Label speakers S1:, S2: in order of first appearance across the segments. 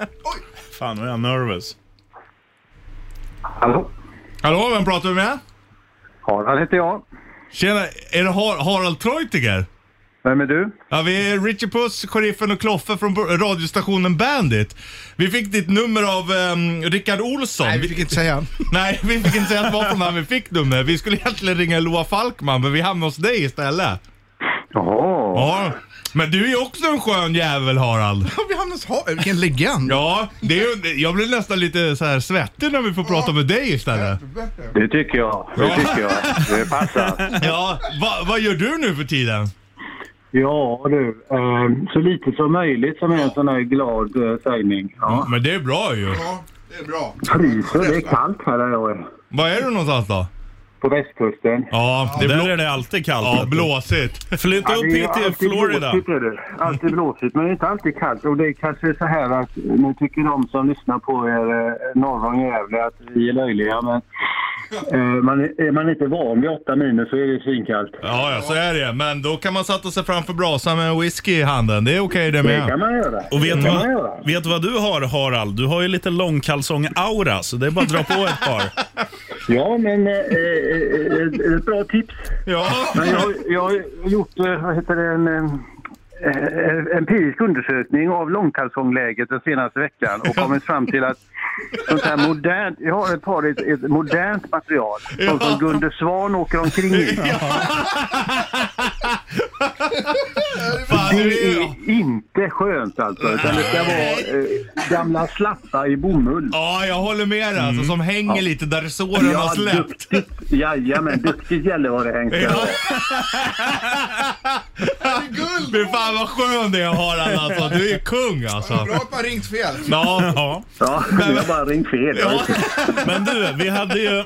S1: Oj!
S2: Fan, nu är jag nervös.
S3: Hallå?
S2: Hallå, vem pratar vi med?
S3: Harald heter jag.
S2: Tjena, är det Har- Harald Treutiger?
S3: Vem är du?
S2: Ja, vi är Richie Puss, Sheriffen och Kloffe från bo- radiostationen Bandit. Vi fick ditt nummer av um, Rickard Olsson.
S1: Nej, vi fick inte säga.
S2: Nej, vi fick inte säga att det var från han vi fick nummer. Vi skulle egentligen ringa Loa Falkman, men vi hamnade hos dig istället.
S3: Jaha.
S2: Ja, men du är också en skön jävel Harald.
S1: Vi hamnade hos Harald. Vilken legend.
S2: Ja, det är, ju- jag blir nästan lite så här svettig när vi får prata med dig istället.
S3: Det tycker jag. Det tycker jag. Det passar.
S2: Ja, va, vad gör du nu för tiden?
S3: Ja du, eh, så lite som möjligt som är en sån här glad eh, sägning. Ja.
S2: Men det är bra ju.
S1: Ja, det är bra.
S3: Fryser, det är kallt här där jag är.
S2: Var är du någonstans då?
S3: På västkusten.
S2: Ja, det är,
S4: Där
S2: blå,
S4: är det alltid kallt.
S2: ja
S4: vet du.
S2: blåsigt.
S4: Flytta upp
S3: det är
S4: hit till
S3: alltid
S4: Florida.
S3: blåsigt, är det. Alltid blåsigt, men det är inte alltid kallt. Och det är kanske så här att nu tycker de som lyssnar på er eh, norr om Gävle att vi är löjliga, men eh, man, är- är man inte van vid 8 minus så är det svinkallt.
S2: Ja, ja, så är det Men då kan man sätta sig framför brasan med en whisky i handen. Det är okej det
S3: Det kan
S2: med.
S3: man göra.
S4: Och vet
S3: det
S4: du
S3: kan man
S4: vad,
S3: göra.
S4: vet vad du har Harald? Du har ju lite långkalsong-aura så det är bara att dra på ett par.
S3: Ja, men eh, eh, eh, ett bra tips.
S2: Ja,
S3: Men jag, har- jag har gjort eh, vad heter det, en eh, empirisk undersökning av långkalsongläget den senaste veckan och kommit fram till att sånt här modernt, jag har ett par ett, ett modernt material sånt som Gunde Svan åker omkring i.
S2: fan
S3: Det
S2: det är...
S3: är inte skönt alltså, utan det ska vara eh, gamla slatta i bomull.
S2: Ja, jag håller med dig alltså,
S4: Mm.
S2: som hänger lite där såren har släppt.
S3: duktigt. Jajamän, duktigt Gällivare Henke.
S2: Ja.
S1: Guld!
S2: Fy fan vad skön det är Harald alltså. Du är kung alltså.
S1: Bra att man ringt fel.
S2: Ja,
S4: Ja.
S3: Ja, jag har bara ringt fel.
S2: ja.
S4: Men du, vi hade ju,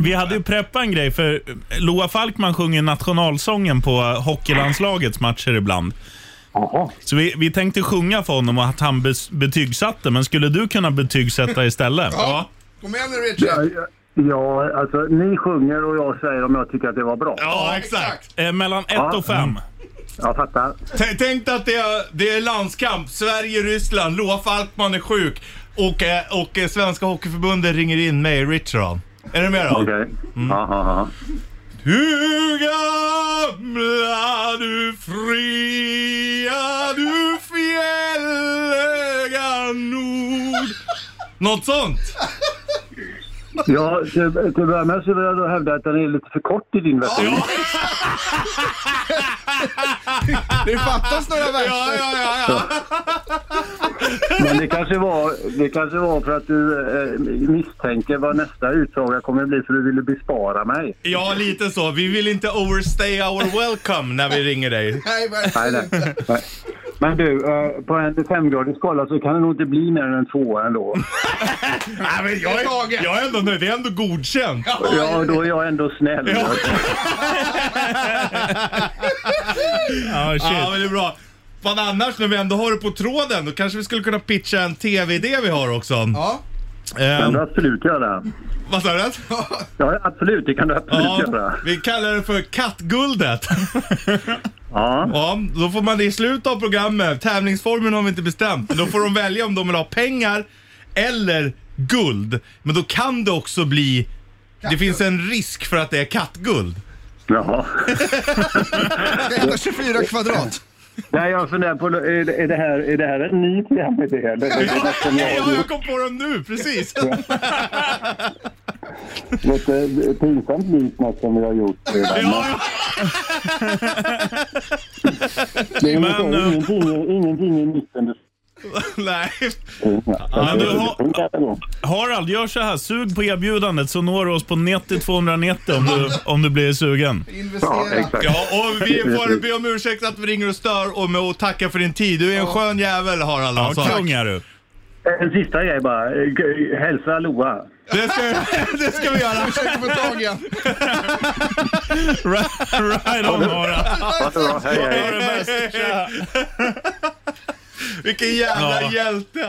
S4: vi hade ju preppat en grej för Loa Falkman sjunger nationalsången på hockeylandslagets matcher ibland.
S3: Jaha.
S4: Så vi, vi tänkte sjunga för honom och att han bes- betygsatte, men skulle du kunna betygsätta istället?
S1: Ja. Kom igen nu Richard.
S3: Ja, Ja, alltså ni sjunger och jag säger om jag tycker att det var bra.
S2: ja exakt.
S4: Eh, mellan 1 och 5.
S3: Jag fattar.
S2: T- Tänk dig att det är, det är landskamp, Sverige-Ryssland, Loa Falkman är sjuk och, eh, och eh, Svenska Hockeyförbundet ringer in mig, Richard. Är du med då?
S3: Okej.
S2: Mm.
S3: Ja, ja, ja.
S2: Hur gamla du fria du fjälliga nord Något sånt?
S3: Ja, till till att börja med så vill jag då hävda att den är lite för kort i din version.
S1: Det fattas några
S2: Ja,
S1: verser.
S2: ja, ja, ja.
S3: Men det kanske, var, det kanske var för att du eh, misstänker vad nästa utsaga kommer att bli för du ville bespara mig.
S2: Ja, lite så. Vi vill inte overstay our welcome när vi ringer dig.
S1: Nej,
S3: Nej,
S1: verkligen
S3: nej.
S1: inte.
S3: nej. Men du, eh, på en femgradig skala så kan det nog inte bli mer än en tvåa ändå.
S2: Nej, men jag är, jag är ändå nöjd. Det är ändå godkänt.
S3: Ja, då är jag ändå snäll.
S2: Ja.
S4: Ja,
S2: Ja,
S4: shit.
S2: men det är bra. Fan annars, när vi ändå har det på tråden, då kanske vi skulle kunna pitcha en tv-idé vi har också.
S1: Ja.
S3: Det
S2: Eh,
S3: kan du absolut göra.
S2: vad sa du?
S3: Ja, absolut. Det kan du absolut göra.
S2: vi kallar det för Kattguldet.
S3: Ja.
S2: Ja, då får man det i slutet av programmet. Tävlingsformen har vi inte bestämt. Då får de välja om de vill ha pengar eller guld. Men då kan det också bli... Det finns en risk för att det är kattguld.
S3: Jaha.
S1: 124 kvadrat.
S3: Nej, jag funderar på, är är det här, är det här en ny programidé? eller? Det är något som jag
S2: Ja,
S3: har
S2: jag
S3: gjort.
S2: kom på dem nu, precis.
S3: Lite pinsamt likt något som vi har gjort redan.
S2: Ja,
S3: Det är ungefär
S4: Men, eh,
S3: ingenting, ingenting i mitten.
S2: nej.
S4: Men du,
S3: Alltså, Det
S4: har,
S3: funkar ändå.
S4: Harald, gör så här. Sug på erbjudandet så når du oss på 90290 om du, om du blir sugen.
S3: Ja,
S1: Investera.
S3: exakt.
S2: Ja, och vi får be om ursäkt att vi ringer och stör och, med, och tackar för din tid. Du är en skön jävel, Harald.
S4: Ja,
S2: Alltså.
S4: kung är du.
S3: En sista grej bara. G- Hälsa Loa.
S2: Det ska, vi- det ska vi göra.
S1: Försöker få tag i en.
S4: Right on, Harald.
S3: Ha det bra. Hej, hej.
S4: Ha det bäst. Tja.
S2: Vilken jävla
S4: Ja.
S2: hjälte.